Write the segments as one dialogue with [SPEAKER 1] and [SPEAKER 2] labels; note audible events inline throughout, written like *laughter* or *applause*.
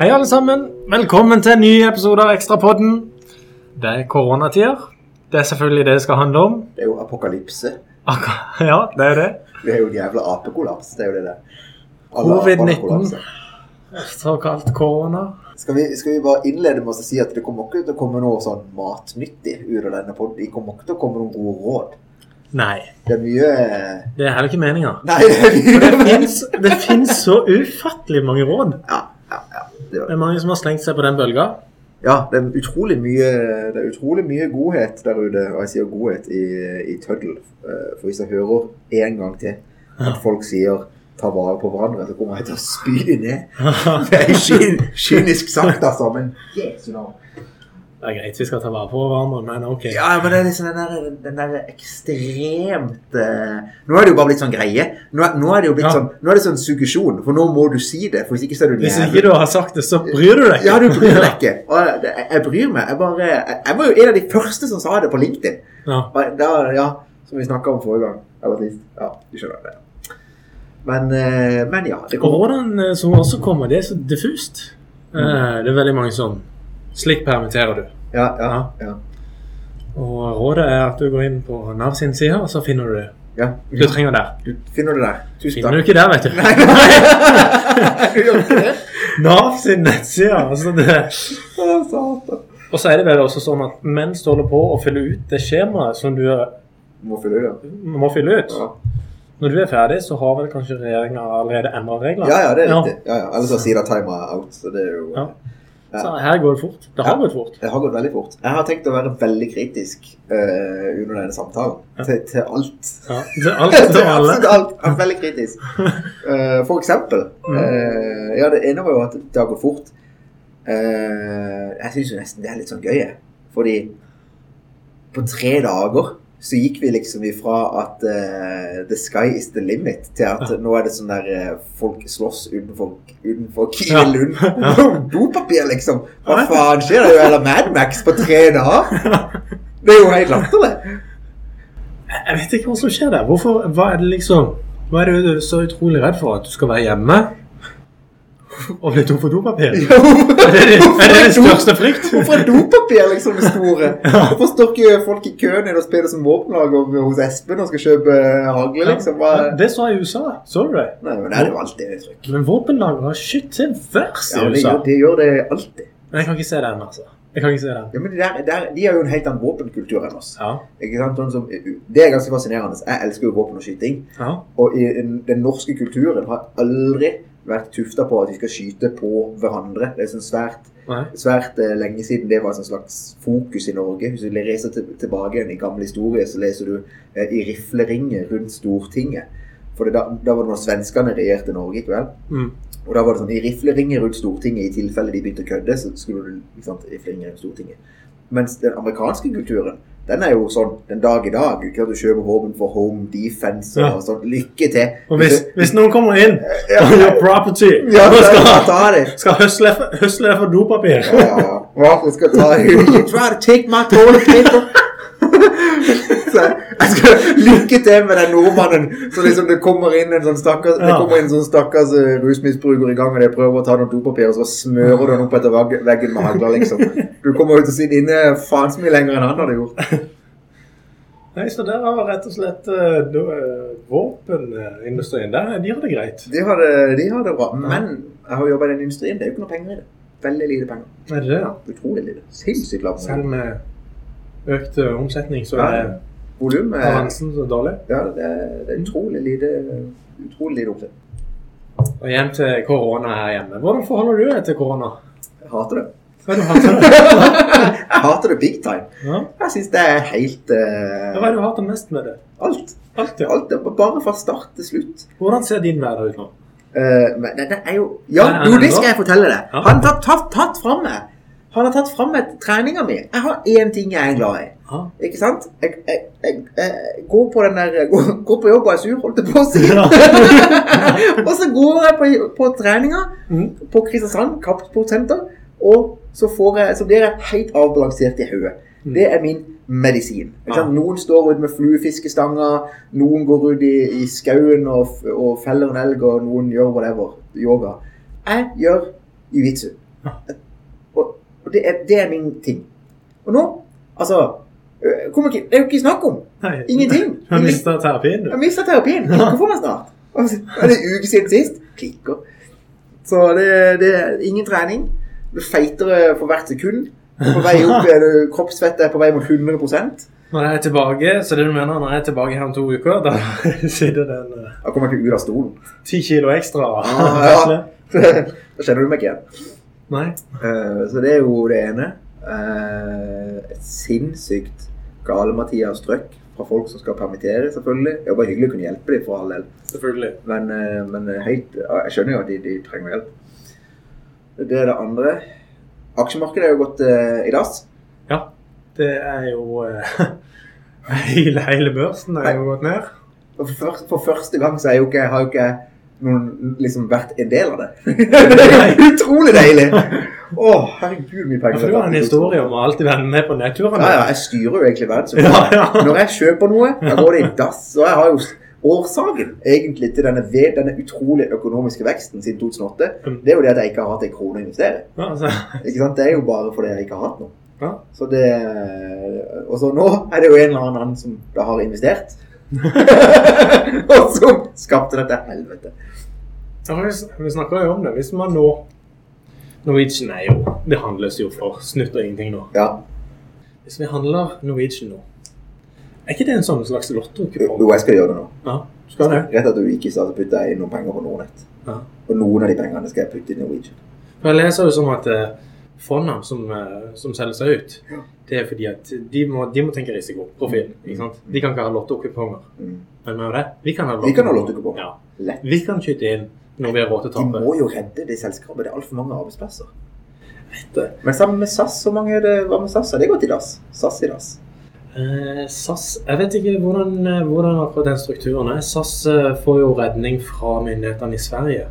[SPEAKER 1] alle sammen. Velkommen til en ny episode av Ekstrapodden. Det er koronatider. Det er selvfølgelig det det skal handle om.
[SPEAKER 2] Det er jo apokalypse.
[SPEAKER 1] Akkur *laughs* ja, det er jo det.
[SPEAKER 2] Det er jo en jævla apekollaps. Det er jo det der. Alle
[SPEAKER 1] Covid-19.
[SPEAKER 2] apene kollapser.
[SPEAKER 1] Såkalt korona.
[SPEAKER 2] Skal vi, skal vi bare innlede med å si at det kommer ikke til å komme noe sånn matnyttig ut av denne podden. Det kommer ikke til å komme noen gode råd.
[SPEAKER 1] Nei,
[SPEAKER 2] Det er mye
[SPEAKER 1] det er heller ikke meninga.
[SPEAKER 2] Nei, det er
[SPEAKER 1] For *laughs* det
[SPEAKER 2] mye
[SPEAKER 1] fins- Det fins så ufattelig mange råd.
[SPEAKER 2] Ja, ja, ja. Det
[SPEAKER 1] Det
[SPEAKER 2] var-
[SPEAKER 1] er mange som har slengt seg på den *laughs* bølga.
[SPEAKER 2] ja, det er utrolig mye Det er utrolig mye godhet der ute, og jeg sier godhet i, i tøddel. eh, For hvis jeg hører en gang til at folk sier 'ta vare på hverandre', så kommer jeg til å spy dem ned. Det er kyn- kynisk sagt, altså, men Jesu navn.
[SPEAKER 1] Det er greit vi skal ta vare på hverandre, men ok.
[SPEAKER 2] Ja, men det er liksom den der, den der ekstremt eh, Nå er det jo bare blitt sånn greie. Nå er, nå er det jo blitt
[SPEAKER 1] Ja.
[SPEAKER 2] sånn Nå er det sånn suggesjon, for nå må du si det. For hvis ikke så er du
[SPEAKER 1] Hvis
[SPEAKER 2] jævlig-
[SPEAKER 1] ikke du har sagt det, så bryr du deg ikke.
[SPEAKER 2] Ja, du bryr
[SPEAKER 1] *laughs*
[SPEAKER 2] deg ikke. Og eh, det- jeg, jeg bryr meg. Jeg bare jeg, jeg var jo en av de første som sa det på LinkedIn.
[SPEAKER 1] Ja.
[SPEAKER 2] Og Da, ja, som vi snakka om forrige gang. Eller sist. Ja, du skjønner det. Men, eh, men ja. Det kommer
[SPEAKER 1] Koronaen eh, som også kommer, det er så diffust. Eh, Det er veldig mange som Slik permitterer du.
[SPEAKER 2] Ja, ja, ja.
[SPEAKER 1] Og rådet er at du går inn på Nav sin side, og så finner du det.
[SPEAKER 2] ja.
[SPEAKER 1] Du trenger der.
[SPEAKER 2] Du finner det der. Tusen
[SPEAKER 1] Finner du
[SPEAKER 2] *laughs* takk.
[SPEAKER 1] ikke der, vet du.
[SPEAKER 2] *laughs* Du gjør ikke det?
[SPEAKER 1] *laughs* Nav sin nettside. Altså det.
[SPEAKER 2] Å, satan.
[SPEAKER 1] Og så er det vel også sånn at mens du holder på å fylle ut det skjemaet som du er,
[SPEAKER 2] Må fylle det.
[SPEAKER 1] må fylle ut,
[SPEAKER 2] Ja.
[SPEAKER 1] når du er ferdig, så har vel kanskje regjeringa allerede endra reglene.
[SPEAKER 2] Ja, ja, det er riktig. Ja, ja. Ellers har Sida time out, så det er jo
[SPEAKER 1] Ja. Så her går det fort. Det har
[SPEAKER 2] Ja.
[SPEAKER 1] gått fort.
[SPEAKER 2] Det har gått veldig fort. Jeg har tenkt å være veldig kritisk eh, under denne samtalen. Til, til alt.
[SPEAKER 1] Ja. Til *laughs*
[SPEAKER 2] *laughs*
[SPEAKER 1] alt
[SPEAKER 2] til
[SPEAKER 1] og alle.
[SPEAKER 2] absolutt alt. Jeg er veldig
[SPEAKER 1] *laughs*
[SPEAKER 2] kritisk. Eh, for eksempel
[SPEAKER 1] Mm.
[SPEAKER 2] eh, Ja, det ene var jo at det har gått fort. Eh, jeg syns jo nesten det er litt sånn gøy, jeg. Fordi på tre dager så gikk vi liksom ifra at eh, the sky is the limit, til at nå er det sånn der eh, folk slåss utenfor, utenfor Kiwi
[SPEAKER 1] Ja.
[SPEAKER 2] Lund. *laughs*
[SPEAKER 1] Ja.
[SPEAKER 2] Dopapir, liksom. Hva faen skjer? Det er jo hele Mad Max på tre
[SPEAKER 1] *laughs*
[SPEAKER 2] dager. Det er jo helt latterlig.
[SPEAKER 1] Jeg vet ikke hva som skjer der. Hvorfor, hva er det liksom Hva er det du er så utrolig redd for? At du skal være hjemme og bli tom for
[SPEAKER 2] *laughs*
[SPEAKER 1] dopapir? Er det er det din største frykt?
[SPEAKER 2] Hvorfor er dopapir liksom det
[SPEAKER 1] *laughs*
[SPEAKER 2] store? Hvorfor står ikke folk i køen nede og spiller som våpenlager hos Espen og skal kjøpe hagle, liksom? Hva?
[SPEAKER 1] Ja, Det så jeg i USA. Så du det?
[SPEAKER 2] Nei, men det er jo alltid det trykk.
[SPEAKER 1] Men våpenlagre har skytt til værs i
[SPEAKER 2] Ja, de,
[SPEAKER 1] USA.
[SPEAKER 2] gjør- de gjør det alltid.
[SPEAKER 1] Men jeg kan ikke se den, altså. Jeg kan ikke se den.
[SPEAKER 2] Ja, men de, der, der, de har jo en helt annen våpenkultur enn oss.
[SPEAKER 1] Ja.
[SPEAKER 2] Ikke sant? Sånn som, det er ganske fascinerende. Jeg elsker jo våpen og skyting.
[SPEAKER 1] ja.
[SPEAKER 2] Og i den- den norske kulturen har aldri vært tufta på at vi skal skyte på hverandre. Det er sånn svært
[SPEAKER 1] Nei.
[SPEAKER 2] svært eh, lenge siden det var et slags fokus i Norge. Hvis du leser til, tilbake igjen i gammel historie, så leser du eh, i rifleringer rundt Stortinget. For det, da, da var det når svenskene regjerte Norge, ikke vel?
[SPEAKER 1] Mm.
[SPEAKER 2] Og da var det sånn i rifleringer rundt Stortinget, i tilfelle de begynte å kødde, så skulle du ikke sant, rifleringer rundt Stortinget. Mens den amerikanske kulturen, den er jo sånn den dag i dag. Ikke sant, du kjøper våpen for home defense og
[SPEAKER 1] Ja.
[SPEAKER 2] sånn. Lykke til.
[SPEAKER 1] Og hvis, hvis noen kommer inn
[SPEAKER 2] Ja.
[SPEAKER 1] on your property
[SPEAKER 2] *laughs* ja,
[SPEAKER 1] og
[SPEAKER 2] ta,
[SPEAKER 1] skal,
[SPEAKER 2] ta det.
[SPEAKER 1] skal høsle, høsle for dopapir
[SPEAKER 2] Ja, ja, ja. Hvorfor skal ta *laughs* You try to take my toilet paper *laughs* Så jeg skal lykke til med den nordmannen Så liksom det kommer inn en sånn stakkars Det
[SPEAKER 1] Ja.
[SPEAKER 2] kommer inn en sånn stakkars eh, rusmisbruker i gang Og de prøver å ta noen dopapir Og så smører du den opp etter vegg- veggen med hagler liksom Du kommer jo til å sitte inne faen så mye lenger enn han hadde gjort
[SPEAKER 1] Nei, så der har rett og slett eh, da, eh, våpenindustrien der, De har det greit.
[SPEAKER 2] De har det, de har det bra Men jeg har jobbet i den industrien Det er jo ikke noe penger i det Veldig lite penger
[SPEAKER 1] Er det det? ja?
[SPEAKER 2] Utrolig lite Sinnssykt lavt
[SPEAKER 1] Selv med økt eh, omsetning, så
[SPEAKER 2] Ja.
[SPEAKER 1] er
[SPEAKER 2] Volum eh, er,
[SPEAKER 1] balansen så dårlig.
[SPEAKER 2] ja, det er, det er utrolig lite Utrolig lite oppsett
[SPEAKER 1] Og igjen til korona her hjemme. Hvordan forholder du deg til korona?
[SPEAKER 2] Jeg hater det.
[SPEAKER 1] Hva er det du har hatt det?
[SPEAKER 2] Jeg hater det big time.
[SPEAKER 1] *laughs* Ja?
[SPEAKER 2] Jeg syns det er helt eh,
[SPEAKER 1] Hva er det du har hatt det mest med det?
[SPEAKER 2] alt.
[SPEAKER 1] Alt, ja.
[SPEAKER 2] alt. er Bare fra start til slutt.
[SPEAKER 1] Hvordan ser din hverdag ut nå?
[SPEAKER 2] Eh, men det, det er jo
[SPEAKER 1] Nei,
[SPEAKER 2] Ja,
[SPEAKER 1] nei,
[SPEAKER 2] jo,
[SPEAKER 1] nei,
[SPEAKER 2] det
[SPEAKER 1] nå-
[SPEAKER 2] skal jeg fortelle deg.
[SPEAKER 1] Ja.
[SPEAKER 2] Han har tatt, tatt, tatt fram meg. Han har tatt fram meg til treninga mi. Jeg har én ting jeg er glad i. *laughs*
[SPEAKER 1] Ja.
[SPEAKER 2] Ikke sant? Jeg, jeg, jeg, jeg går på den der *laughs* jeg går, går på jobb og er sur, holdt jeg på å
[SPEAKER 1] *laughs*
[SPEAKER 2] si. og så går jeg på, på treninga
[SPEAKER 1] Mm.
[SPEAKER 2] på Kristiansand kampsportsenter, og så, får jeg, så blir jeg helt avbalansert i hodet.
[SPEAKER 1] Mm.
[SPEAKER 2] Det er min medisin. Ikke sant?
[SPEAKER 1] Ja.
[SPEAKER 2] Noen står ute med fluefiskestanger, noen går ut i, i skauen og, f- og feller en elg, og noen gjør whatever. Yoga. Jeg gjør jiu-jitsu. Og, og det, er, det er min ting. Og nå, altså øh, kommer ikke, Det er jo ikke snakk om!
[SPEAKER 1] Nei.
[SPEAKER 2] Ingenting.
[SPEAKER 1] Du har mistet terapien, du.
[SPEAKER 2] Jeg mista terapien. Klikker for meg snart. Og så er det en uke siden sist. Klikker. Så det, det er ingen trening. Du er feitere for hvert sekund. På vei opp er du kroppsfett er på vei mot 100 Da
[SPEAKER 1] Når jeg er tilbake, så det du mener når jeg er tilbake her om to uker, da *laughs* sitter det en eh,
[SPEAKER 2] kommer jeg ikke ut av stolen. *laughs*
[SPEAKER 1] ti kilo ekstra. *laughs*
[SPEAKER 2] Ah, ja. Da kjenner du meg ikke igjen.
[SPEAKER 1] Nei.
[SPEAKER 2] Eh, Så det er jo det ene. Eh, Et sinnssykt gale-Mathias trøkk fra folk som skal permittere, selvfølgelig. Det er jo bare hyggelig å kunne hjelpe dem, for all del.
[SPEAKER 1] Selvfølgelig.
[SPEAKER 2] Men, eh, men høyt, ja, jeg skjønner jo at de, de trenger hjelp. Det er det andre. Aksjemarkedet er jo gått eh, i dass.
[SPEAKER 1] Ja. Det er jo eh, *laughs* hele, hele børsen er jo gått ned.
[SPEAKER 2] Og for, før- for første gang så er jo ikke, har jo ikke noen liksom vært en del
[SPEAKER 1] *laughs*
[SPEAKER 2] av det. *laughs* Utrolig deilig! Å, herregud,
[SPEAKER 1] Ja,
[SPEAKER 2] mye penger.
[SPEAKER 1] for du har en historie om å alltid være med på nedturene.
[SPEAKER 2] Ja, ja, jeg styrer jo egentlig verden. så-
[SPEAKER 1] Ja, ja.
[SPEAKER 2] Når jeg kjøper
[SPEAKER 1] *laughs*
[SPEAKER 2] noe, da går det i dass. Og jeg har jo s- årsaken egentlig til denne, ved, denne utrolig økonomiske veksten siden 2008.
[SPEAKER 1] Mm.
[SPEAKER 2] Det er jo det at jeg ikke har hatt en krone å investere.
[SPEAKER 1] Ja, altså.
[SPEAKER 2] Ikke sant? Det er jo bare fordi jeg ikke har hatt noe.
[SPEAKER 1] Ja.
[SPEAKER 2] Så det, og så nå er det jo en eller annen som da har
[SPEAKER 1] *laughs*
[SPEAKER 2] investert. og som skapte dette helvete.
[SPEAKER 1] Ja, for vi- vi snakker jo om det. Hvis man nå Norwegian er jo Det handles jo for snutt og ingenting nå.
[SPEAKER 2] Ja.
[SPEAKER 1] Hvis vi handler Norwegian nå, er ikke det en sånn slags
[SPEAKER 2] Jo,
[SPEAKER 1] lotto-kupong?
[SPEAKER 2] jeg skal gjøre det nå.
[SPEAKER 1] Ja, skal det?
[SPEAKER 2] Rett at du ikke sa, så putter jeg inn noen penger på Nordnett.
[SPEAKER 1] Ja.
[SPEAKER 2] Og noen av de pengene skal jeg putte i Norwegian.
[SPEAKER 1] For jeg leser jo som at eh, fondene som, eh, som selger seg ut,
[SPEAKER 2] Ja.
[SPEAKER 1] det er fordi at de må, de må tenke risikoprofil. ikke sant? De kan ikke ha lottokuponger.
[SPEAKER 2] Mm.
[SPEAKER 1] Men med det, vi kan ha
[SPEAKER 2] Vi kan ha lottokuponger.
[SPEAKER 1] Ja.
[SPEAKER 2] Lett.
[SPEAKER 1] Vi kan skyte inn når vi har råd til
[SPEAKER 2] De
[SPEAKER 1] å tape.
[SPEAKER 2] må jo redde det selskapet. Det er altfor mange arbeidsplasser.
[SPEAKER 1] det.
[SPEAKER 2] Men sammen med SAS, hvor mange er det, hva med SAS? Har det gått i dass? SAS i dass.
[SPEAKER 1] Eh, SAS Jeg vet ikke hvordan, eh, hvordan akkurat den strukturen er. SAS eh, får jo redning fra myndighetene i Sverige.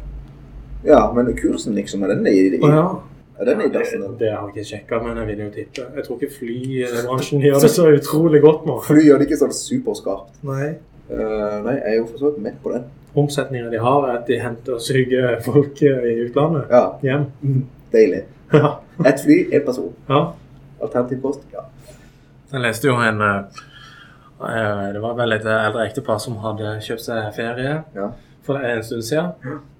[SPEAKER 2] Ja, men kursen, liksom, er den i, i,
[SPEAKER 1] Å ja.
[SPEAKER 2] er den i dassen?
[SPEAKER 1] Det,
[SPEAKER 2] eller?
[SPEAKER 1] det har jeg ikke sjekka, men jeg vil jo tippe. Jeg tror ikke flybransjen gjør det så utrolig godt nå.
[SPEAKER 2] Fly gjør det ikke sånn superskarpt.
[SPEAKER 1] Nei.
[SPEAKER 2] Eh, nei, jeg er jo for så vidt med på den.
[SPEAKER 1] Omsetninga de har, er at de henter syke folk eh, i utlandet
[SPEAKER 2] Ja,
[SPEAKER 1] hjem. *laughs*
[SPEAKER 2] deilig.
[SPEAKER 1] ja.
[SPEAKER 2] Et fly, en person.
[SPEAKER 1] ja.
[SPEAKER 2] Alternativ kost, ja.
[SPEAKER 1] Jeg leste jo en eh, eh, Det var vel et eldre ektepar som hadde kjøpt seg ferie
[SPEAKER 2] Ja.
[SPEAKER 1] for en stund siden.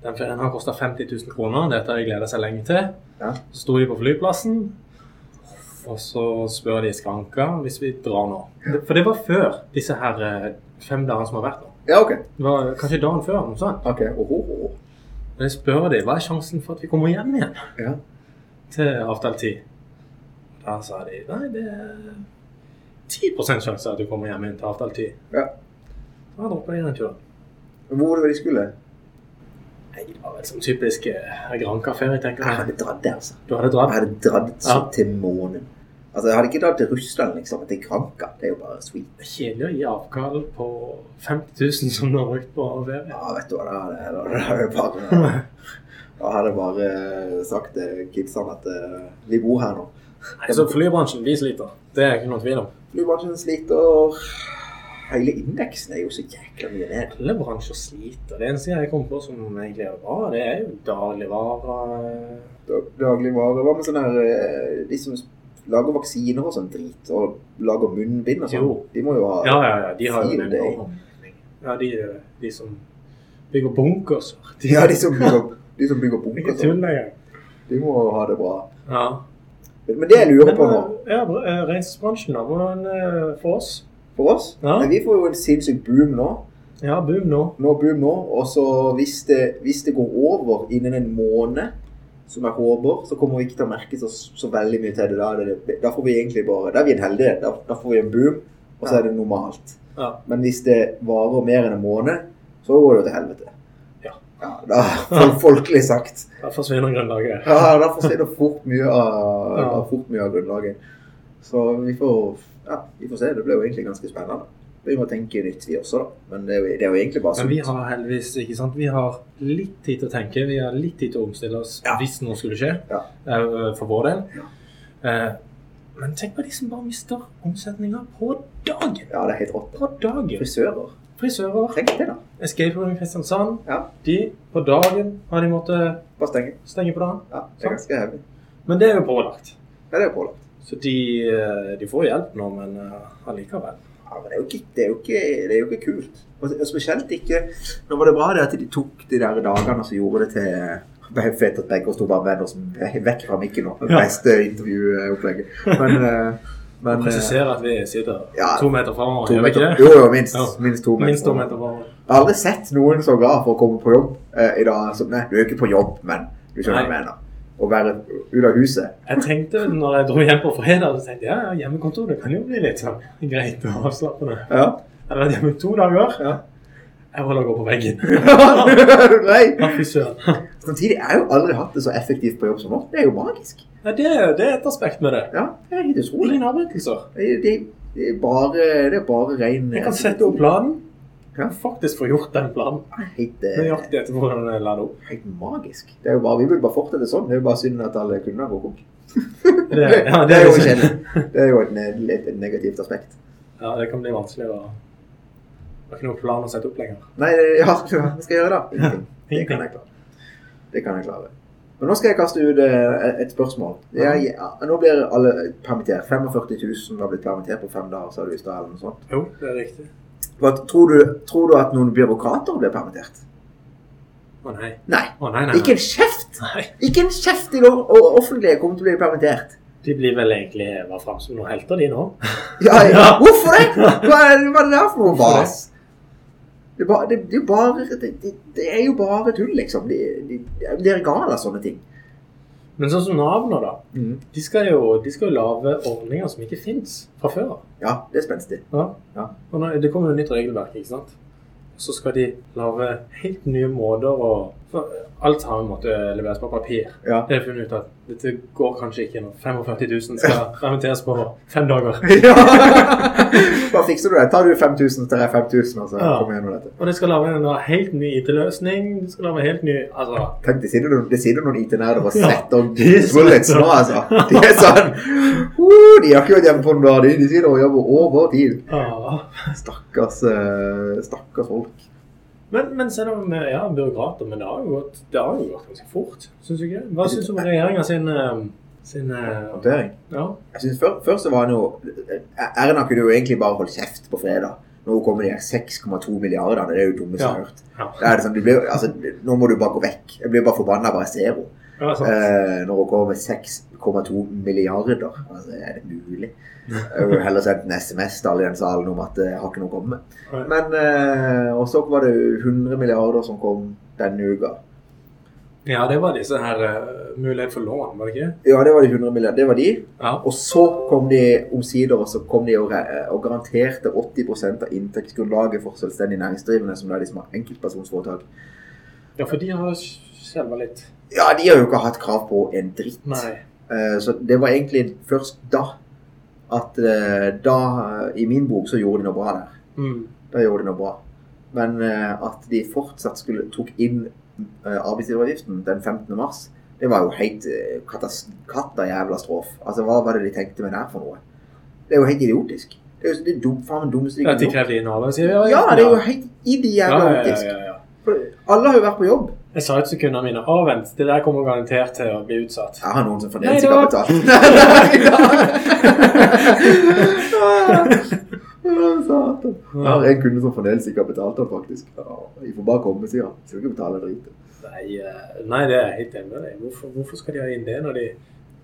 [SPEAKER 1] Den ferien har kosta 50 000 kroner. Dette har de gleda seg lenge til.
[SPEAKER 2] Ja.
[SPEAKER 1] Så sto de på flyplassen, og så spør de skranka hvis vi drar nå. For det var før disse her eh, fem dagene som har vært nå.
[SPEAKER 2] Ja, ok.
[SPEAKER 1] Det var kanskje dagen før. Noe sånt.
[SPEAKER 2] Ok, oh, oh, oh.
[SPEAKER 1] Men jeg spør de, hva er sjansen for at vi kommer hjem igjen
[SPEAKER 2] Ja.
[SPEAKER 1] til avtalt tid? Da sa de nei, det er 10 sjanse at du kommer hjem igjen til avtalt tid.
[SPEAKER 2] Ja.
[SPEAKER 1] Da droppa de den turen.
[SPEAKER 2] Men Hvor var det de skulle?
[SPEAKER 1] Nei, det var vel som typisk eh, Granca-ferie, tenker
[SPEAKER 2] Jeg
[SPEAKER 1] jeg.
[SPEAKER 2] hadde dratt det, altså.
[SPEAKER 1] Du hadde
[SPEAKER 2] Jeg
[SPEAKER 1] dratt?
[SPEAKER 2] hadde dratt så
[SPEAKER 1] Ja.
[SPEAKER 2] til månen. Altså, jeg hadde ikke dratt til Russland, liksom. Til Kranka. Det er jo bare sweet.
[SPEAKER 1] Kjedelig å gi avkall på 50 000 som du har brukt på ferie.
[SPEAKER 2] Ja, vet du hva, da hadde jeg- da hadde jeg bare... *laughs* Da hadde jeg bare sagt til kidsene at eh, vi bor her nå.
[SPEAKER 1] Nei, så flybransjen, de sliter. Det er ikke noe tvil om.
[SPEAKER 2] Flybransjen sliter. Hele indeksen er jo så jækla mye ned.
[SPEAKER 1] Alle bransjer sliter. Det eneste jeg kom på som egentlig er bra, det er jo dagligvarer.
[SPEAKER 2] dag- dagligvare. Hva med sånne her, eh, de som lager vaksiner og sånn drit, og lager munnbind og sånn?
[SPEAKER 1] Jo.
[SPEAKER 2] De må jo ha
[SPEAKER 1] Ja, ja, ja. De har jo
[SPEAKER 2] Sier
[SPEAKER 1] den
[SPEAKER 2] det.
[SPEAKER 1] overhånden. Ja, de, de som bygger bunkers.
[SPEAKER 2] *laughs*
[SPEAKER 1] *laughs*
[SPEAKER 2] Ja, de som bygger, de som bygger bunker
[SPEAKER 1] Ikke
[SPEAKER 2] og sånn.
[SPEAKER 1] tull engang.
[SPEAKER 2] De må ha det bra.
[SPEAKER 1] Ja.
[SPEAKER 2] Men men det jeg lurer på nå,
[SPEAKER 1] Men, eh, Ja, eh, Reinsdyrbransjen, da. Hvordan eh, for oss?
[SPEAKER 2] for oss
[SPEAKER 1] Ja.
[SPEAKER 2] Nei, Vi får jo en sinnssyk boom nå.
[SPEAKER 1] Ja, boom nå.
[SPEAKER 2] Nå boom nå, og så hvis det, hvis det går over innen en måned, som jeg håper, så kommer vi ikke til å merke så, så veldig mye til det. Da, er det, da får vi egentlig bare Da er vi en heldighet. Da, da får vi en boom, og så er det normalt.
[SPEAKER 1] Ja.
[SPEAKER 2] Men hvis det varer mer enn en måned, så går det jo til helvete.
[SPEAKER 1] Ja.
[SPEAKER 2] da, *laughs* for folkelig sagt.
[SPEAKER 1] Da forsvinner grunnlaget.
[SPEAKER 2] Ja, da forsvinner fort mye av,
[SPEAKER 1] Ja.
[SPEAKER 2] av fort mye av grunnlaget. Så vi får, ja, vi får se. Det ble jo egentlig ganske spennende. Vi må tenke nytt, vi også, da. Men det er jo, det er jo egentlig bare
[SPEAKER 1] Men vi
[SPEAKER 2] sunt.
[SPEAKER 1] har heldigvis ikke sant? Vi har litt tid til å tenke. Vi har litt tid til å omstille oss
[SPEAKER 2] Ja.
[SPEAKER 1] hvis noe skulle skje,
[SPEAKER 2] Ja.
[SPEAKER 1] eh, for vår del. Eh, Men tenk på de som bare mister omsetninga på dagen.
[SPEAKER 2] Ja, det er helt rått.
[SPEAKER 1] På dagen.
[SPEAKER 2] Frisører.
[SPEAKER 1] Frisører,
[SPEAKER 2] Tenk det, da.
[SPEAKER 1] Escape Room i Kristiansand.
[SPEAKER 2] Ja.
[SPEAKER 1] De, på dagen, har de måttet
[SPEAKER 2] Bare stenge.
[SPEAKER 1] stenge på dagen. Sånn.
[SPEAKER 2] Ja, det er ganske hevig.
[SPEAKER 1] Men det er jo pålagt.
[SPEAKER 2] Ja, det er jo pålagt.
[SPEAKER 1] Så de, eh, de får hjelp nå, men eh, allikevel.
[SPEAKER 2] Ja, men det er jo ikke, det er jo ikke, det er jo ikke kult. Og, og spesielt ikke Nå var det bra det at de tok de der dagene som gjorde det til *laughs* det er jo fett at begge oss to bare venner oss vekk fra mikken nå. Det
[SPEAKER 1] Ja.
[SPEAKER 2] beste intervjuopplegget. Men, eh, men eh,
[SPEAKER 1] Presiserer at vi sitter
[SPEAKER 2] Ja,
[SPEAKER 1] to meter framover,
[SPEAKER 2] to
[SPEAKER 1] gjør vi ikke
[SPEAKER 2] meter.
[SPEAKER 1] det?
[SPEAKER 2] Jo, jo, minst,
[SPEAKER 1] Ja.
[SPEAKER 2] minst to meter.
[SPEAKER 1] Minst to meter framover.
[SPEAKER 2] Jeg har aldri sett noen så glad for å komme på jobb eh, i dag. Som, nei, du er jo ikke på jobb, men du skjønner hva jeg
[SPEAKER 1] Nei.
[SPEAKER 2] mener. Å være ute av huset.
[SPEAKER 1] Jeg tenkte når jeg dro hjem på fredag, så tenkte jeg ja, ja, hjemmekontor det kan jo bli litt sånn greit og avslappende.
[SPEAKER 2] Ja.
[SPEAKER 1] Jeg har vært hjemme i to dager.
[SPEAKER 2] Ja.
[SPEAKER 1] Jeg holder å gå på veggen.
[SPEAKER 2] *laughs* nei.
[SPEAKER 1] Ja, fy søren.
[SPEAKER 2] Samtidig jeg har jeg jo aldri hatt det så effektivt på jobb som nå. Det er jo magisk.
[SPEAKER 1] Ja, det, er- det er et aspekt med det.
[SPEAKER 2] Ja, det er helt utrolig.
[SPEAKER 1] Ingen avbrytelser.
[SPEAKER 2] Det, det, det er bare, det er bare eh, ren
[SPEAKER 1] Jeg kan sette opp planen.
[SPEAKER 2] Ja.
[SPEAKER 1] og Faktisk få gjort den planen.
[SPEAKER 2] Helt, eh,
[SPEAKER 1] Nøyaktig etter hvordan jeg la det
[SPEAKER 2] *laughs*
[SPEAKER 1] opp.
[SPEAKER 2] helt magisk. Det er jo bare, vi vil bare fortsette sånn. Det er jo bare synd at alle kundene går konk.
[SPEAKER 1] Det, liksom- ja,
[SPEAKER 2] Det er jo
[SPEAKER 1] litt-
[SPEAKER 2] kjedelig. Det er jo et, ne- et, et negativt aspekt.
[SPEAKER 1] Ja, det kan bli vanskelig å Det er ikke noen plan å sette opp lenger.
[SPEAKER 2] Nei, det- ja, *laughs* hva skal jeg gjøre da? Ingenting. Det kan jeg klare. Det kan jeg klare. Men nå skal jeg kaste ut eh, et spørsmål. Jeg, ja, nå blir alle permittert. 45 000 har blitt permittert på fem dager, sa du i stad. eller noe sånt.
[SPEAKER 1] Jo, det er riktig.
[SPEAKER 2] Hva- Tror du, tror du at noen byråkrater blir permittert?
[SPEAKER 1] Å nei.
[SPEAKER 2] Nei.
[SPEAKER 1] Å nei, nei,
[SPEAKER 2] Ikke
[SPEAKER 1] nei.
[SPEAKER 2] en kjeft!
[SPEAKER 1] nei.
[SPEAKER 2] Ikke en kjeft i det offentlige kommer til å bli permittert.
[SPEAKER 1] De blir vel egentlig heva fram som noen helter, de nå.
[SPEAKER 2] Ja, ja.
[SPEAKER 1] Ja.
[SPEAKER 2] Hvorfor det? Hva er, hva er det der for noe
[SPEAKER 1] Hvorfor
[SPEAKER 2] vas? Det, er bare- det, det, er bare, det, det, det er jo bare tull, liksom. De, de, de er gale av sånne ting.
[SPEAKER 1] Men sånn som Nav nå, da. De skal jo, de skal jo lage ordninger som ikke fins fra før av.
[SPEAKER 2] Ja, det er spenstig.
[SPEAKER 1] Ja.
[SPEAKER 2] Ja.
[SPEAKER 1] Og nå, det kommer jo nytt regelverk, ikke sant. Så skal de lage helt nye måter å for Alt har en måte leveres på papir.
[SPEAKER 2] Ja.
[SPEAKER 1] Det er funnet ut at dette går kanskje ikke når 45 000 *laughs* skal permitteres på fem dager.
[SPEAKER 2] ja. *laughs* Hva fikser du det? Tar du 5000 til 5000, og så
[SPEAKER 1] Ja.
[SPEAKER 2] kommer gjennom dette.
[SPEAKER 1] Og det skal lage en da helt ny IT-løsning. Det skal lage helt ny Altså,
[SPEAKER 2] Tenk, det sitter noen, det sitter noen IT-nerder og
[SPEAKER 1] Ja.
[SPEAKER 2] setter
[SPEAKER 1] De er
[SPEAKER 2] bullets
[SPEAKER 1] sånn.
[SPEAKER 2] nå, altså. De er sånn uh, De har ikke vært hjemme på noen dager, de. De sitter og jobber over tid.
[SPEAKER 1] ja.
[SPEAKER 2] Stakkars, eh, stakkars folk.
[SPEAKER 1] Men, men selv om eh, ja, byråkrater Men det har jo gått, det har jo gått ganske fort, syns du ikke? det? Hva syns du om regjeringa sin, eh, sin eh,
[SPEAKER 2] Håndtering.
[SPEAKER 1] Ja.
[SPEAKER 2] Jeg synes før, før så var han jo Erna kunne jo egentlig bare holdt kjeft på fredag. Nå kommer de her 6,2 milliarder, det er jo dumme som
[SPEAKER 1] Ja.
[SPEAKER 2] har hørt.
[SPEAKER 1] Ja.
[SPEAKER 2] Da er det sånn, du blir, altså, nå må du bare gå vekk. Jeg blir bare forbanna bare jeg ser henne.
[SPEAKER 1] ja sant.
[SPEAKER 2] Eh, når hun kommer med 6,2 milliarder. Altså, er det mulig? Jeg ville heller sendt en SMS til alle i den salen om at eh, jeg har ikke noe å komme med.
[SPEAKER 1] Nei.
[SPEAKER 2] Men eh, Og så var det jo 100 milliarder som kom denne uka.
[SPEAKER 1] ja, det var disse her eh, mulighet for lån, var det ikke?
[SPEAKER 2] Ja, det var de 100 milliarder. Det var de.
[SPEAKER 1] Ja.
[SPEAKER 2] Og så kom de omsider og så kom de og, re- eh, og garanterte 80 av inntektsgrunnlaget for selvstendig næringsdrivende, som da er de som har enkeltpersonsforetak.
[SPEAKER 1] ja, for de har skjelva litt.
[SPEAKER 2] Ja, de har jo ikke hatt krav på en dritt.
[SPEAKER 1] Nei.
[SPEAKER 2] Eh, Så det var egentlig først da at eh, da eh, I min bok så gjorde de noe bra der.
[SPEAKER 1] Mm.
[SPEAKER 2] Da gjorde de noe bra. Men eh, at de fortsatt skulle, tok inn eh, arbeidsgiveravgiften den 15. mars, det var jo helt eh, katas- katajævla-strof. Altså, hva var det de tenkte med det her for noe? Det er jo helt idiotisk. Det er jo det er dum, faen dummeste de
[SPEAKER 1] At de
[SPEAKER 2] kunne gjort.
[SPEAKER 1] krevde inn arbeidsgiveravgift?
[SPEAKER 2] Ja, det er jo helt
[SPEAKER 1] ja, ja, ja,
[SPEAKER 2] idiotisk.
[SPEAKER 1] ja, ja.
[SPEAKER 2] For alle har jo vært på jobb.
[SPEAKER 1] Jeg sa jo til sekundene mine Å, vent, det der kommer garantert til å bli utsatt.
[SPEAKER 2] Jeg har noen som
[SPEAKER 1] Nei,
[SPEAKER 2] fordeler
[SPEAKER 1] det
[SPEAKER 2] seg
[SPEAKER 1] var- *laughs*
[SPEAKER 2] kapital. Nei, da. Satan. Jeg har en kunde som fordeler seg kapital, da, faktisk. Ja, De får bare komme, sier han. Skal ikke betale drit.
[SPEAKER 1] Nei, eh, nei, det er jeg helt enig med deg. Hvorfor, hvorfor skal de ha inn det når de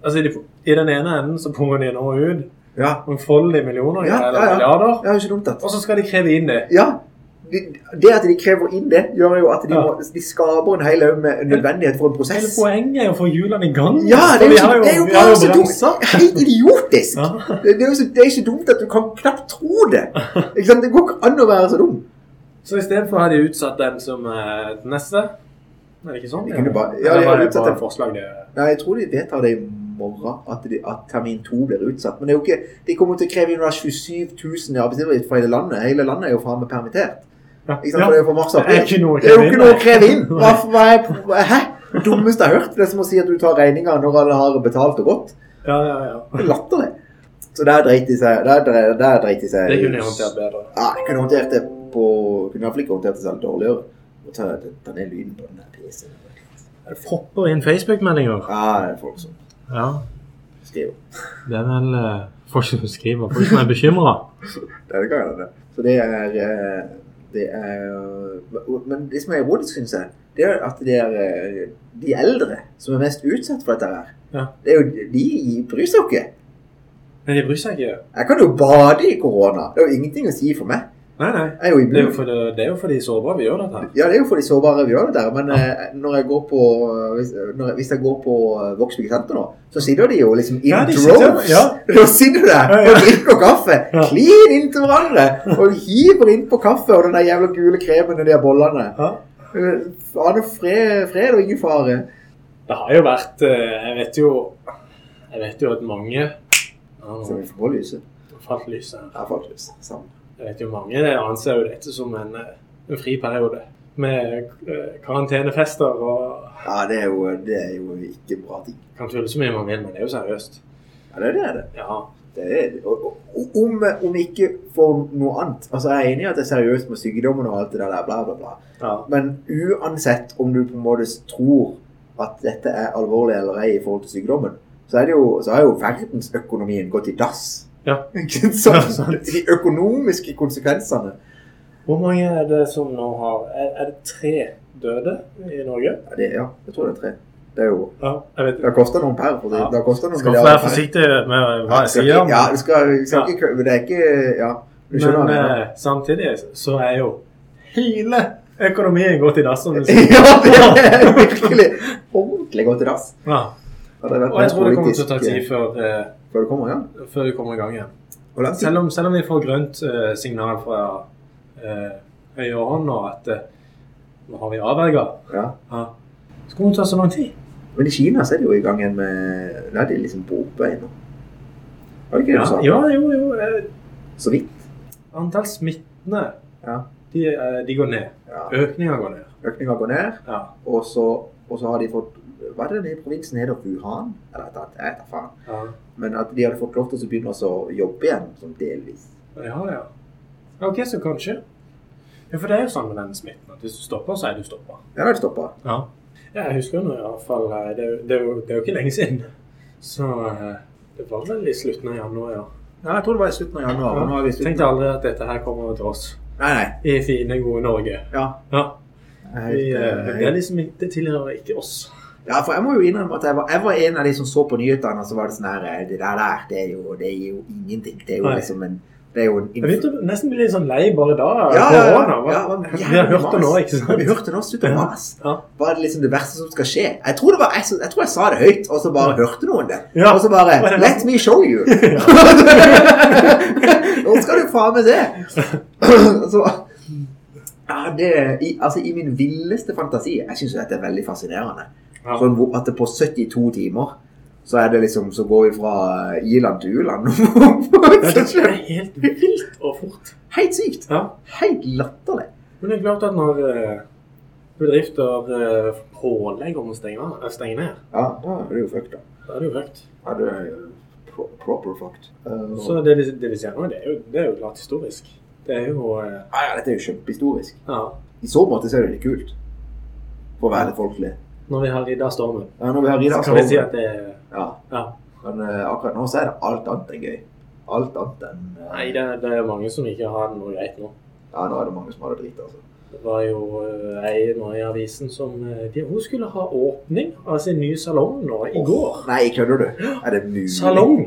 [SPEAKER 1] Altså, de, I den ene enden så punger de nå ut
[SPEAKER 2] Ja,
[SPEAKER 1] mangfoldige millioner
[SPEAKER 2] Ja,
[SPEAKER 1] eller
[SPEAKER 2] ja, ja.
[SPEAKER 1] milliarder,
[SPEAKER 2] Det er jo ikke dumt, det.
[SPEAKER 1] og så skal de kreve inn det.
[SPEAKER 2] Ja. de- Det at de krever inn det, gjør jo at de,
[SPEAKER 1] Ja.
[SPEAKER 2] må, de skaper en hel haug med nødvendighet for en
[SPEAKER 1] Hele
[SPEAKER 2] prosess.
[SPEAKER 1] poenget er å få hjulene i gang.
[SPEAKER 2] Ja,
[SPEAKER 1] For
[SPEAKER 2] det er jo,
[SPEAKER 1] vi
[SPEAKER 2] så,
[SPEAKER 1] har
[SPEAKER 2] det er jo
[SPEAKER 1] vi har
[SPEAKER 2] bare så
[SPEAKER 1] bremser.
[SPEAKER 2] dumt. Helt idiotisk.
[SPEAKER 1] Ja.
[SPEAKER 2] Det, det, er jo så, det er ikke dumt at du kan knapt tro det. Ikke sant? Det går ikke an å være så dum.
[SPEAKER 1] Så istedenfor har de utsatt den som eh, den neste. Er det ikke sånn?
[SPEAKER 2] De kunne bare- ja,
[SPEAKER 1] Eller
[SPEAKER 2] de har
[SPEAKER 1] var det
[SPEAKER 2] utsatt
[SPEAKER 1] bare
[SPEAKER 2] den.
[SPEAKER 1] forslag de
[SPEAKER 2] Nei, jeg tror de vedtar det i morgen, at, de, at termin to blir utsatt. Men det er jo ikke, de kommer til å kreve inn da 27 000 i arbeidsgiveravgift fra hele landet. Hele landet er jo faen meg permittert.
[SPEAKER 1] ja.
[SPEAKER 2] Ikke sant? For det er jo fra mars og
[SPEAKER 1] Det er
[SPEAKER 2] april.
[SPEAKER 1] ikke noe å
[SPEAKER 2] Det er jo
[SPEAKER 1] kreve
[SPEAKER 2] ikke
[SPEAKER 1] inn,
[SPEAKER 2] noe å
[SPEAKER 1] nei.
[SPEAKER 2] kreve
[SPEAKER 1] *laughs*
[SPEAKER 2] inn. Hva, hva er, hva- hæ? Det dummeste jeg har hørt. Det er som å si at du tar regninga når alle har betalt og gått.
[SPEAKER 1] Ja, ja, ja.
[SPEAKER 2] Det er latterlig. Så der dreit de seg. Der, der, der dreit de seg.
[SPEAKER 1] Det kunne de håndtert bedre.
[SPEAKER 2] Ja, jeg kunne håndtert det på Kunne iallfall ikke håndtert det selv dårligere. Og ta, ta ned lyden på den der PC-en.
[SPEAKER 1] Det propper inn Facebook-meldinger.
[SPEAKER 2] Ja, det er folk som
[SPEAKER 1] Ja.
[SPEAKER 2] skriver.
[SPEAKER 1] Det er vel eh, folk som skriver, folk som er bekymra.
[SPEAKER 2] *laughs* Denne gangen er det. Så det er, eh, det er Men det som er ironisk, syns jeg, det er at det er eh, de eldre som er mest utsatt for dette her.
[SPEAKER 1] Ja.
[SPEAKER 2] Det er jo, de bryr seg jo ikke.
[SPEAKER 1] Men de bryr seg ikke.
[SPEAKER 2] Jeg kan jo bade i korona. Det er jo ingenting å si for meg.
[SPEAKER 1] Nei, nei.
[SPEAKER 2] Jeg er jo
[SPEAKER 1] Det er jo
[SPEAKER 2] immun.
[SPEAKER 1] for, det, det er jo for de sårbare vi gjør dette her.
[SPEAKER 2] Ja, det er jo for de sårbare vi gjør det der, men eh, når jeg går på eh, hvis, når jeg, hvis jeg går på eh, Vågsvik senter nå, så sitter de jo liksom in
[SPEAKER 1] Ja, de sitter-
[SPEAKER 2] droves.
[SPEAKER 1] ja.
[SPEAKER 2] *laughs* Da sitter du der
[SPEAKER 1] Ja, ja.
[SPEAKER 2] og drikker kaffe,
[SPEAKER 1] *laughs* Ja.
[SPEAKER 2] klin inntil hverandre, og hiver innpå kaffe og den der jævla gule kremen og de der bollene.
[SPEAKER 1] Ja.
[SPEAKER 2] Eh, Faen og fred, fred og ingen fare.
[SPEAKER 1] Det har jo vært eh, Jeg vet jo Jeg vet jo at mange ja,
[SPEAKER 2] Så vi får på lyset.
[SPEAKER 1] nå Falt lyset her.
[SPEAKER 2] Ja, faktisk. Samme.
[SPEAKER 1] Jeg vet jo mange anser jo dette som en, eh, en friperiode. Med eh, karantenefester og
[SPEAKER 2] Ja, det er, jo, det er jo ikke bra ting.
[SPEAKER 1] Kan tulle så mye man vil, men det er jo seriøst.
[SPEAKER 2] Ja, det er det. det.
[SPEAKER 1] Ja.
[SPEAKER 2] Det er, og- og- om, om ikke for noe annet. Altså, jeg er enig i at det er seriøst med sykdommen og alt det der, bla, bla, bla.
[SPEAKER 1] ja.
[SPEAKER 2] Men uansett om du på en måte tror at dette er alvorlig eller ei i forhold til sykdommen, så er, det jo, så har jo verdensøkonomien gått i dass.
[SPEAKER 1] Ja.
[SPEAKER 2] *laughs* Ikke sant?
[SPEAKER 1] Ja, sant.
[SPEAKER 2] de økonomiske konsekvensene.
[SPEAKER 1] Hvor mange er det som nå har Er, er det tre døde i Norge?
[SPEAKER 2] Ja, det, ja, jeg tror det er tre. Det er jo
[SPEAKER 1] Ja, jeg vet
[SPEAKER 2] Det har kosta noen per. For det,
[SPEAKER 1] Ja.
[SPEAKER 2] det har kostet noen
[SPEAKER 1] Skal være forsiktig med hva
[SPEAKER 2] Ja,
[SPEAKER 1] jeg
[SPEAKER 2] skal
[SPEAKER 1] sier.
[SPEAKER 2] ikke, ja, du skal, du skal ikke kø- Det er ikke Ja. Du skjønner
[SPEAKER 1] Men
[SPEAKER 2] hva jeg mener.
[SPEAKER 1] eh, samtidig så er jo hele økonomien gått i dass, som du sier. *laughs*
[SPEAKER 2] ja, det er virkelig ordentlig godt i dass.
[SPEAKER 1] Ja.
[SPEAKER 2] Hadde vært
[SPEAKER 1] Og jeg
[SPEAKER 2] mer
[SPEAKER 1] tror det kommer til å ta
[SPEAKER 2] politisk,
[SPEAKER 1] tid før, eh,
[SPEAKER 2] eh, Før det kommer, ja.
[SPEAKER 1] før vi kommer i gang igjen.
[SPEAKER 2] Hvor lang tid?
[SPEAKER 1] Selv om, selv om vi får grønt eh, signal fra eh, høyre hånd nå at eh, nå har vi avverga,
[SPEAKER 2] Ja.
[SPEAKER 1] ja. så kommer det til å ta så lang tid.
[SPEAKER 2] Men i Kina så er de jo i gang igjen med Nei, de er liksom på oppvei nå. Var det ikke det
[SPEAKER 1] Ja,
[SPEAKER 2] du sa?
[SPEAKER 1] ja jo, jo. eh,
[SPEAKER 2] Så vidt.
[SPEAKER 1] Antall smittende
[SPEAKER 2] Ja.
[SPEAKER 1] de, eh, de går ned.
[SPEAKER 2] Ja.
[SPEAKER 1] Økninga går ned.
[SPEAKER 2] Økninga går ned,
[SPEAKER 1] Ja.
[SPEAKER 2] og så, og så har de fått Hva er det den provinsen heter? Wuhan? Eller et eller annet, jeg vet da faen.
[SPEAKER 1] Ja,
[SPEAKER 2] Men at de hadde fått lov til å begynne også å jobbe igjen, sånn delvis.
[SPEAKER 1] ja. ja. OK, så kanskje. Ja, For det er jo sånn med denne smitten at hvis du stopper, så er du stoppa.
[SPEAKER 2] Ja, da har de stoppa.
[SPEAKER 1] Ja. Jeg husker nå i hvert fall eh, det, er jo- det, er jo- det er jo ikke lenge siden. Så eh, det var vel i slutten av januar, ja.
[SPEAKER 2] Ja, jeg tror det var i slutten av januar. og Nå har vi
[SPEAKER 1] Jeg
[SPEAKER 2] slutten.
[SPEAKER 1] tenkte aldri at dette her kommer over til oss
[SPEAKER 2] Nei, nei.
[SPEAKER 1] i fine, gode Norge.
[SPEAKER 2] Ja.
[SPEAKER 1] Ja.
[SPEAKER 2] Jeg er
[SPEAKER 1] Vi,
[SPEAKER 2] helt,
[SPEAKER 1] eh,
[SPEAKER 2] eh,
[SPEAKER 1] det, er liksom, ikke- det tilhører ikke oss.
[SPEAKER 2] Ja, for jeg må jo innrømme at jeg var, jeg var en av de som så på nyhetene, og så var det sånn her eh, Det der, der det er jo, det er jo ingenting. Det er jo
[SPEAKER 1] Nei.
[SPEAKER 2] liksom en Det er jo en
[SPEAKER 1] Jeg begynte å nesten bli litt sånn lei bare da.
[SPEAKER 2] Ja, ja, ja.
[SPEAKER 1] Korona. hva-
[SPEAKER 2] Ja, hva-
[SPEAKER 1] vi har hørt det nå, ikke sant?
[SPEAKER 2] Vi hørte det nå, slutt å
[SPEAKER 1] Ja.
[SPEAKER 2] mas.
[SPEAKER 1] Ja.
[SPEAKER 2] Hva er det liksom det verste som skal skje? Jeg tror, det var, jeg, jeg, tror jeg sa det høyt, og så bare hørte noen det.
[SPEAKER 1] Ja.
[SPEAKER 2] Og så bare
[SPEAKER 1] Var det
[SPEAKER 2] Let me show
[SPEAKER 1] *laughs*
[SPEAKER 2] you! *laughs* nå skal du faen meg se! *clears throat* så ja, det, i, altså, I min villeste fantasi Jeg syns dette er veldig fascinerende.
[SPEAKER 1] Ja.
[SPEAKER 2] Sånn hvor- at det på 72 timer så er det liksom, så går vi fra i-land til
[SPEAKER 1] *laughs*
[SPEAKER 2] u-land.
[SPEAKER 1] Ja, det er helt vilt og fort.
[SPEAKER 2] Helt sykt.
[SPEAKER 1] Ja.
[SPEAKER 2] Helt latterlig.
[SPEAKER 1] Men det er klart at når eh, bedrifter eh, pålegger om å stenge, eh, stenge ned,
[SPEAKER 2] Ja, da er det jo fucked, da.
[SPEAKER 1] da er det jo høyt.
[SPEAKER 2] Ja, det er jo pro proper fucked. Eh,
[SPEAKER 1] Så det vi, det vi ser nå, det er, jo, det er jo klart historisk. Det er jo eh,
[SPEAKER 2] ja, ja, dette er jo kjempehistorisk.
[SPEAKER 1] Ja.
[SPEAKER 2] I så måte så er det litt kult. For å være litt folkelig.
[SPEAKER 1] Når vi har ridda stormen,
[SPEAKER 2] Ja, når vi har
[SPEAKER 1] så
[SPEAKER 2] Rida
[SPEAKER 1] kan vi si at det er
[SPEAKER 2] Ja,
[SPEAKER 1] Ja.
[SPEAKER 2] men eh, akkurat nå så er det alt annet enn gøy. Alt annet enn eh,
[SPEAKER 1] Nei, det, det er mange som ikke har det noe greit nå.
[SPEAKER 2] Ja, nå er det mange som har det drit, altså.
[SPEAKER 1] Det var jo eh, ei nå i avisen som eh, de, Hun skulle ha åpning av sin nye salong nå i går.
[SPEAKER 2] Åh, Nei, kødder du? Er det mulig?
[SPEAKER 1] Salong!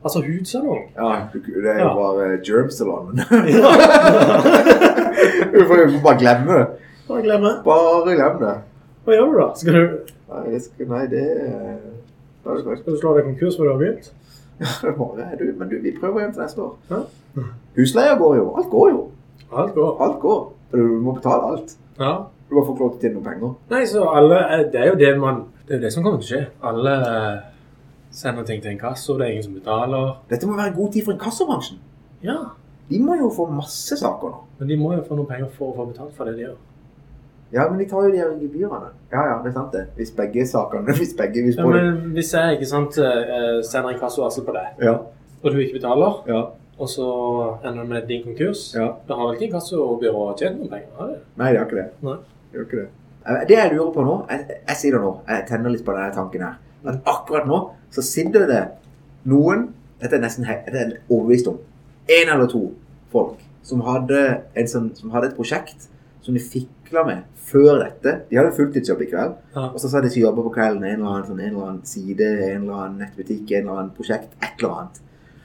[SPEAKER 1] Altså hudsalong.
[SPEAKER 2] Ja, du- det er jo
[SPEAKER 1] Ja.
[SPEAKER 2] bare
[SPEAKER 1] *laughs*
[SPEAKER 2] germsalon.
[SPEAKER 1] Ja.
[SPEAKER 2] Du får jo bare glemme det.
[SPEAKER 1] Bare glem det.
[SPEAKER 2] Bare glem det.
[SPEAKER 1] Hva gjør du da? Skal du,
[SPEAKER 2] Nei, det, skal, nei, det er Da er det fucked.
[SPEAKER 1] skal du slå deg konkurs før du har begynt?
[SPEAKER 2] Det er bare- du, Men du, vi prøver igjen til neste år.
[SPEAKER 1] Ja.
[SPEAKER 2] Husleia går jo. Alt går jo.
[SPEAKER 1] Alt går.
[SPEAKER 2] Alt går. Du må betale alt.
[SPEAKER 1] Ja.
[SPEAKER 2] Du bare får ikke lov til å tjene noen penger.
[SPEAKER 1] Nei, så alle eh, Det er jo det man Det er jo det som kommer til å skje. Alle eh, sender ting til en kasse, og det er ingen som betaler.
[SPEAKER 2] Dette må være en god tid for inkassobransjen.
[SPEAKER 1] Ja.
[SPEAKER 2] De må jo få masse saker nå.
[SPEAKER 1] Men de må jo få noen penger for å få betalt for det de gjør.
[SPEAKER 2] Ja, men de tar jo de her gebyrene. Ja, ja, det er sant det. Hvis begge sakene *laughs* Hvis begge hvis
[SPEAKER 1] Ja,
[SPEAKER 2] både...
[SPEAKER 1] men hvis jeg ikke sant, eh, sender en kassevarsel på deg,
[SPEAKER 2] Ja,
[SPEAKER 1] og du ikke betaler,
[SPEAKER 2] ja,
[SPEAKER 1] og så ender du med din konkurs
[SPEAKER 2] ja.
[SPEAKER 1] Da har vel ikke inkassobyrået tjent noen penger? har de?
[SPEAKER 2] Nei, det er ikke det.
[SPEAKER 1] Nei.
[SPEAKER 2] Det er ikke det. Eh, Det jeg lurer på nå Jeg, jeg sier det nå. Jeg tenner litt på denne tanken her. at akkurat nå så sitter det noen Dette er nesten he- dette er en overbevist om. Én eller to folk som hadde, en sånn, som hadde et prosjekt som de fikla med før dette. De hadde fulltidsjobb i kveld.
[SPEAKER 1] Ja.
[SPEAKER 2] Og så sa de som jobber på kvelden, en eller annen, sånn, en eller annen side, en eller annen nettbutikk, en eller annen prosjekt, et eller annet.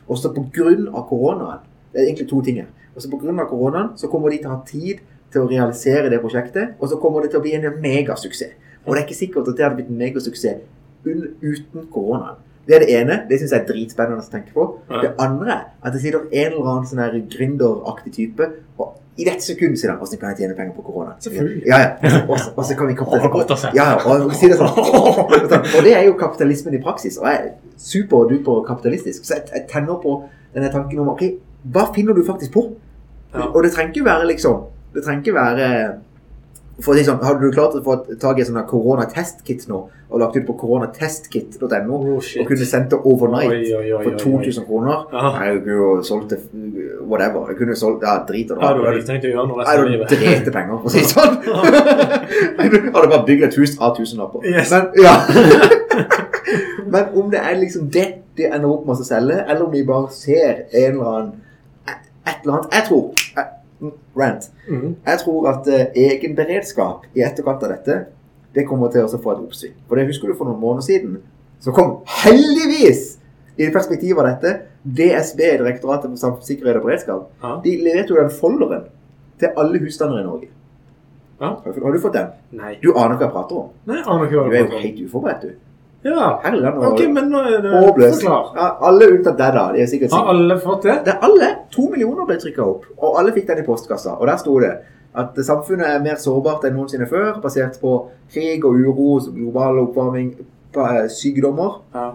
[SPEAKER 2] Og så på grunn av koronaen, det er egentlig to ting her, og så på grunn av koronaen så kommer de til å ha tid til å realisere det prosjektet, og så kommer det til å bli en megasuksess. Og det er ikke sikkert at det hadde blitt en megasuksess un- uten koronaen. Det er det ene, det synes jeg er dritspennende å tenke på.
[SPEAKER 1] Ja.
[SPEAKER 2] Det andre, at det sitter en eller annen sånn her gründeraktig type, og i dette sekund sier han, hvordan kan jeg tjene penger på korona?
[SPEAKER 1] Selvfølgelig.
[SPEAKER 2] Ja, ja. Og så- Og så kan vi
[SPEAKER 1] Å, godt å se.
[SPEAKER 2] ja, og, si det sånn. og det er jo kapitalismen i praksis, og jeg er super-duper kapitalistisk. Så jeg, jeg tenner på denne tanken om ok, hva finner du faktisk på?
[SPEAKER 1] Ja.
[SPEAKER 2] Og det trenger ikke være liksom Det trenger ikke være for å si sånn, Hadde du klart å få tak i en sånn her koronatestkit nå, og lagt ut på koronatestkit.no,
[SPEAKER 1] Oh,
[SPEAKER 2] og kunne
[SPEAKER 1] shit.
[SPEAKER 2] sendt det overnight
[SPEAKER 1] Oi, oi, oi,
[SPEAKER 2] for
[SPEAKER 1] oi, Ah. oi.
[SPEAKER 2] 2000 kroner
[SPEAKER 1] Ja.
[SPEAKER 2] Nei, Jeg kunne jo solgt det whatever. Jeg kunne jo solgt Ja, drit i det.
[SPEAKER 1] Ja, du hadde ikke tenkt å gjøre noe resten av
[SPEAKER 2] Jeg hadde
[SPEAKER 1] livet.
[SPEAKER 2] drete penger, for å si det
[SPEAKER 1] *laughs*
[SPEAKER 2] sånn. *laughs* Jeg hadde bare bygd et hus av tusenlapper.
[SPEAKER 1] Yes.
[SPEAKER 2] Men, ja. *laughs* Men om det er liksom det de ender opp med å selge, eller om de bare ser en eller annen Et eller annet Jeg tror jeg- Rant.
[SPEAKER 1] Mhm.
[SPEAKER 2] Jeg tror at eh, egen beredskap i etterkant av dette, det kommer til å få et oppsving. For det husker du for noen måneder siden, så kom heldigvis i perspektiv av dette, DSB, Direktoratet for samfunnssikkerhet og beredskap,
[SPEAKER 1] Ja.
[SPEAKER 2] de leverte jo den folderen til alle husstander i Norge.
[SPEAKER 1] Ja.
[SPEAKER 2] Har du- Har du fått den?
[SPEAKER 1] Nei.
[SPEAKER 2] Du aner ikke hva jeg prater om.
[SPEAKER 1] Nei, aner ikke hva
[SPEAKER 2] Du
[SPEAKER 1] det
[SPEAKER 2] er
[SPEAKER 1] er.
[SPEAKER 2] jo helt uforberedt, du.
[SPEAKER 1] Ja.
[SPEAKER 2] Her i landet
[SPEAKER 1] Ok,
[SPEAKER 2] var
[SPEAKER 1] men nå er det
[SPEAKER 2] du håpløs.
[SPEAKER 1] Forklar.
[SPEAKER 2] Ja, alle unntatt deg, da. De er sikkert
[SPEAKER 1] Har alle fått det?
[SPEAKER 2] Det er alle. To millioner ble trykka opp, og alle fikk den i postkassa. Og der sto det at samfunnet er mer sårbart enn noensinne før, basert på krig og uro, global oppvarming, pa- eh, sykdommer.
[SPEAKER 1] Ja.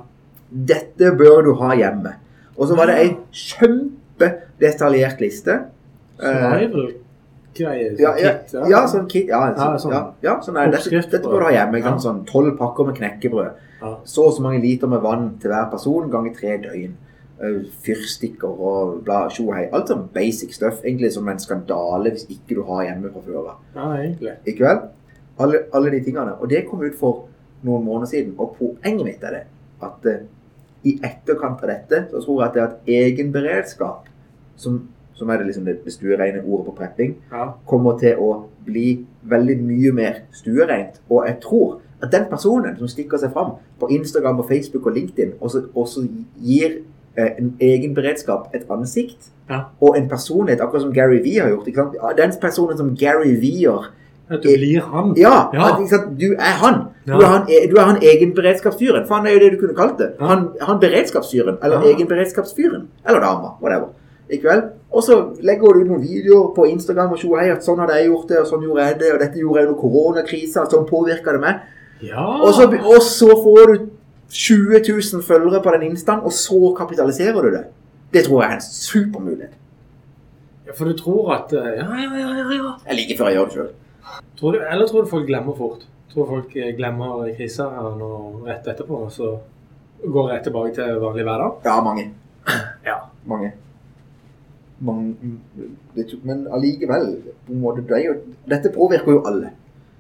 [SPEAKER 2] Dette bør du ha hjemme. Og så var det ei kjempedetaljert liste. Eh,
[SPEAKER 1] Survival-greie.
[SPEAKER 2] ja, ja,
[SPEAKER 1] kit,
[SPEAKER 2] ja, sånn kit. Ja,
[SPEAKER 1] Ja,
[SPEAKER 2] sånn,
[SPEAKER 1] sånn.
[SPEAKER 2] ja, ja, sånn er det. dette,
[SPEAKER 1] Oppskrift på-
[SPEAKER 2] dette bør du ha hjemme. Ikke sant?
[SPEAKER 1] Ja.
[SPEAKER 2] Sånn tolv pakker med knekkebrød.
[SPEAKER 1] Ja.
[SPEAKER 2] Så og så mange liter med vann til hver person ganger tre døgn. Eh, Fyrstikker og bla, tjo og hei. Alt sånn basic stuff. Egentlig som en skandale hvis ikke du har hjemme fra før av.
[SPEAKER 1] ja, egentlig.
[SPEAKER 2] Ikke vel? Alle, alle de tingene. Og det kom ut for noen måneder siden. Og poenget mitt er det at eh, i etterkant av dette så tror jeg at det er at egen beredskap, som, som er det liksom det stuereine ordet på prepping,
[SPEAKER 1] Ja.
[SPEAKER 2] kommer til å bli veldig mye mer stuereint. Og jeg tror at den personen som stikker seg fram på Instagram og Facebook og LinkedIn, også, også gir eh, en egen beredskap, et ansikt,
[SPEAKER 1] Ja.
[SPEAKER 2] og en personlighet, akkurat som Gary Vee har gjort. Ikke sant? Ja, Den personen som Gary Vee-er
[SPEAKER 1] At du blir han.
[SPEAKER 2] Ja!
[SPEAKER 1] Ja.
[SPEAKER 2] At, ikke sant? Du er han. Du
[SPEAKER 1] Ja.
[SPEAKER 2] er han, e- du er han egen beredskapsfyren. For han er jo det du kunne kalt det.
[SPEAKER 1] Ja.
[SPEAKER 2] Han, han beredskapsfyren. Eller
[SPEAKER 1] Ja.
[SPEAKER 2] egen beredskapsfyren. Eller dama. Whatever. I kveld. Og så legger du ut noen videoer på Instagram og tjo hei at sånn hadde jeg gjort det, og sånn gjorde jeg det, og dette gjorde jeg under koronakrisa, sånn påvirka det meg.
[SPEAKER 1] Ja.
[SPEAKER 2] Og så, og så får du 20 000 følgere på den instaen, og så kapitaliserer du det. Det tror jeg er en supermulighet.
[SPEAKER 1] Ja, For du tror at eh, Ja, ja, ja, ja. ja.
[SPEAKER 2] Jeg liker før jeg gjør det sjøl.
[SPEAKER 1] Tror du, eller tror du folk glemmer fort? Tror folk eh, glemmer krisa her nå rett etterpå, og så går rett tilbake til vanlig hverdag?
[SPEAKER 2] Ja, mange.
[SPEAKER 1] Ja.
[SPEAKER 2] mange. mange det, tror- men allikevel på en måte, det er jo, Dette påvirker jo alle.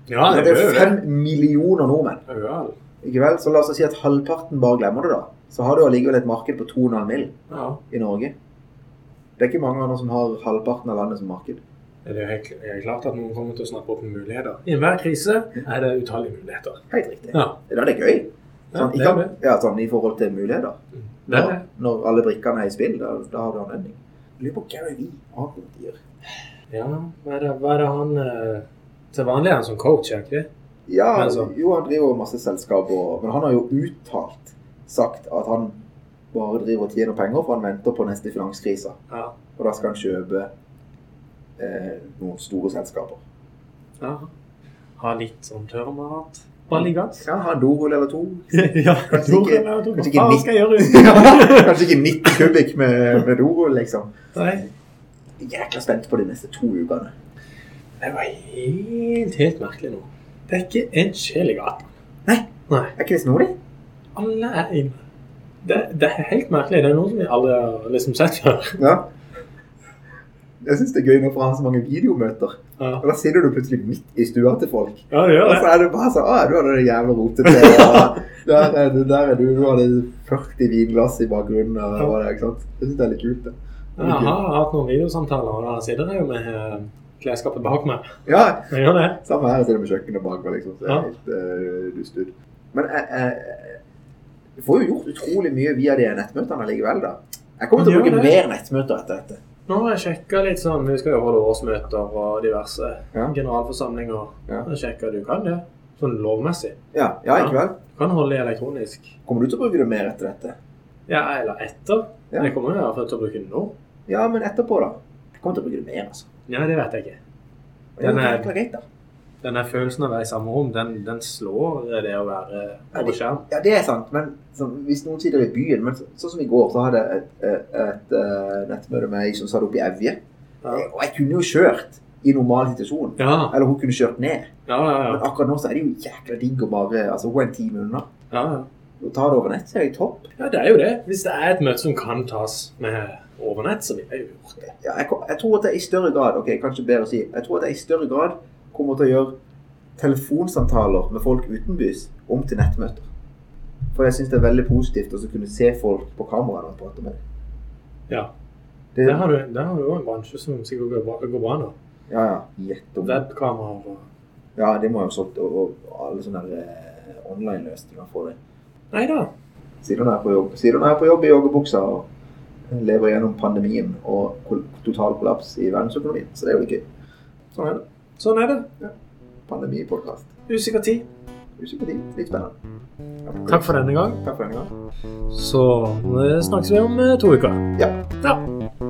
[SPEAKER 1] Ja,
[SPEAKER 2] det, er fem millioner nordmenn.
[SPEAKER 1] Ja,
[SPEAKER 2] Ikke vel? Så la oss si at halvparten bare glemmer det, da. Så har du allikevel et marked på 2,5 mill.
[SPEAKER 1] ja.
[SPEAKER 2] i Norge. Det er ikke mange andre som har halvparten av landet som marked.
[SPEAKER 1] Det er jo helt det er klart at noen kommer til å snakke opp om muligheter. I enhver krise er det utallige muligheter.
[SPEAKER 2] Helt riktig.
[SPEAKER 1] Ja,
[SPEAKER 2] Da er det gøy.
[SPEAKER 1] ja
[SPEAKER 2] Sånn,
[SPEAKER 1] det er
[SPEAKER 2] ikke,
[SPEAKER 1] det.
[SPEAKER 2] ja, sånn i forhold til muligheter.
[SPEAKER 1] det. er
[SPEAKER 2] Når,
[SPEAKER 1] det.
[SPEAKER 2] når alle brikkene er i spill, da, da har du anledning. Jeg Lurer på Gary Vee. hva han gjør.
[SPEAKER 1] Ja, hva er det, hva er det han eh, Til vanlig er han som coach, er ikke det?
[SPEAKER 2] Ja,
[SPEAKER 1] Men så-
[SPEAKER 2] jo, han driver masse selskap, og, men han har jo uttalt sagt at han bare driver og tjener penger, for han venter på neste finanskrise.
[SPEAKER 1] Ja.
[SPEAKER 2] Og da skal han kjøpe eh, noen store selskaper.
[SPEAKER 1] ja. Ha litt sånn tørrmat. Bare liggende.
[SPEAKER 2] Ja, ha en dorull eller to.
[SPEAKER 1] *laughs* ja,
[SPEAKER 2] Kanskje
[SPEAKER 1] Tor,
[SPEAKER 2] ikke-
[SPEAKER 1] Tor,
[SPEAKER 2] kanskje
[SPEAKER 1] Hva
[SPEAKER 2] ikke
[SPEAKER 1] skal jeg gjøre?
[SPEAKER 2] *laughs* Ja, Kanskje ikke 90 kubikk med, med dorull, liksom.
[SPEAKER 1] Nei,
[SPEAKER 2] Jækla spent på de neste to ukene.
[SPEAKER 1] det var helt, helt merkelig nå. Det er ikke en sjel i gata.
[SPEAKER 2] Nei.
[SPEAKER 1] Nei.
[SPEAKER 2] Er ikke det snodig?
[SPEAKER 1] Alle er inne. Det, det er helt merkelig. Det er noe som vi aldri har liksom sett før.
[SPEAKER 2] Ja. Jeg syns det er gøy når for han har så mange videomøter.
[SPEAKER 1] Ja.
[SPEAKER 2] Og da sitter du plutselig midt i stua til folk.
[SPEAKER 1] ja, det gjør
[SPEAKER 2] Og
[SPEAKER 1] det.
[SPEAKER 2] så er det bare sånn Å, du hadde det jævla
[SPEAKER 1] *laughs*
[SPEAKER 2] rotete. og Der er du, der er du. Du hadde 40 vinglass i bakgrunnen. Og det var det, ikke sant? Jeg syns det er litt kult, det. det.
[SPEAKER 1] Jeg
[SPEAKER 2] er litt
[SPEAKER 1] har hatt noen videosamtaler, og da sitter jeg jo med eh, klesskapet bak meg.
[SPEAKER 2] gøy. Ja,
[SPEAKER 1] Jeg gjør det.
[SPEAKER 2] samme her. Jeg sitter med kjøkkenet bak meg, liksom. Så det
[SPEAKER 1] Ja.
[SPEAKER 2] er helt eh, dust ut. Men jeg, jeg, jeg får jo gjort utrolig mye via de nettmøtene likevel, da. Jeg kommer til å
[SPEAKER 1] Gjør
[SPEAKER 2] bruke
[SPEAKER 1] det.
[SPEAKER 2] mer nettmøter etter dette.
[SPEAKER 1] Nå har jeg sjekka litt sånn Vi skal jo holde årsmøter og diverse
[SPEAKER 2] Ja.
[SPEAKER 1] generalforsamlinger.
[SPEAKER 2] Ja.
[SPEAKER 1] Jeg sjekka du kan det. Sånn lovmessig.
[SPEAKER 2] Ja, ja,
[SPEAKER 1] Ja.
[SPEAKER 2] ikke vel?
[SPEAKER 1] Du kan holde det elektronisk.
[SPEAKER 2] Kommer du til å bruke det mer etter dette?
[SPEAKER 1] Ja, eller etter.
[SPEAKER 2] Ja.
[SPEAKER 1] Men Jeg kommer jo i hvert fall til å bruke den nå.
[SPEAKER 2] Ja, men etterpå, da? Jeg kommer til å bruke det mer, altså.
[SPEAKER 1] Ja, det vet jeg ikke.
[SPEAKER 2] Det er
[SPEAKER 1] Den er-
[SPEAKER 2] egentlig greit, da.
[SPEAKER 1] Denne følelsen av å være i samme rom, den, den slår det å være
[SPEAKER 2] Ja,
[SPEAKER 1] over skjerm.
[SPEAKER 2] Ja, det er sant, men sånn, hvis noen sitter i byen men så, Sånn som i går, så hadde jeg et, et, et eh, nettmøte med ei som satt oppe i Evje.
[SPEAKER 1] Ja.
[SPEAKER 2] Eh, Og jeg kunne jo kjørt i normal situasjon.
[SPEAKER 1] Ja,
[SPEAKER 2] Eller hun kunne kjørt ned.
[SPEAKER 1] ja, ja.
[SPEAKER 2] Men
[SPEAKER 1] ja.
[SPEAKER 2] akkurat nå så er det jo jækla digg å bare Altså, hun er en time unna.
[SPEAKER 1] ja, ja.
[SPEAKER 2] Å ta det over nett, så er det topp.
[SPEAKER 1] Ja, det er jo det. Hvis det er et møte som kan tas med overnett, så vil jeg jo gjort det.
[SPEAKER 2] Ja, jeg, kom- jeg tror at jeg i større grad Ok, kanskje bedre å si. Jeg tror at jeg i større grad kommer til å gjøre telefonsamtaler med folk utenbys om til nettmøter. For jeg syns det er veldig positivt å så kunne se folk på kameraet og prate med dem.
[SPEAKER 1] Ja.
[SPEAKER 2] Det-
[SPEAKER 1] Der har du der har du jo en bransje som sikkert går bra, går bra nå.
[SPEAKER 2] Ja, ja. Gjett om
[SPEAKER 1] Webkameraer og
[SPEAKER 2] Ja, det må jeg jo solgt, og, og alle sånne der, eh, online-løsninger for det.
[SPEAKER 1] Nei da.
[SPEAKER 2] Siden hun er på jobb, Siden hun er på jobb i joggebuksa og lever gjennom pandemien og kol- total kollaps i verdensøkonomien. Så det er jo litt gøy. Sånn er det.
[SPEAKER 1] Sånn er det.
[SPEAKER 2] Pandemipodkast.
[SPEAKER 1] Usikker tid.
[SPEAKER 2] Usikker tid. Litt spennende. Ja,
[SPEAKER 1] Takk for denne gang.
[SPEAKER 2] Takk for denne gang.
[SPEAKER 1] Så eh, snakkes vi om eh, to uker.
[SPEAKER 2] Ja.
[SPEAKER 1] Ja.